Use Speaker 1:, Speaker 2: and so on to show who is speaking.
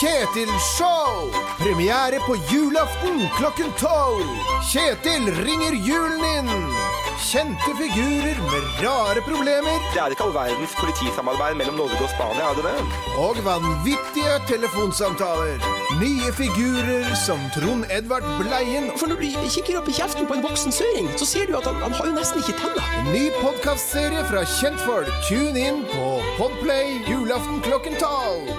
Speaker 1: Kjetil Show! Premiere på julaften klokken tolv. Kjetil ringer julen inn. Kjente figurer med rare problemer
Speaker 2: Det er ikke all verdens politisamarbeid mellom Norge og Spania, er det det?
Speaker 1: og vanvittige telefonsamtaler. Nye figurer som Trond Edvard Bleien.
Speaker 3: For når du kikker opp i kjeften på en voksen søring, så ser du at han, han har jo nesten ikke tenner.
Speaker 1: Ny podkastserie fra kjentfolk. Tune inn på Podplay julaften klokken tolv.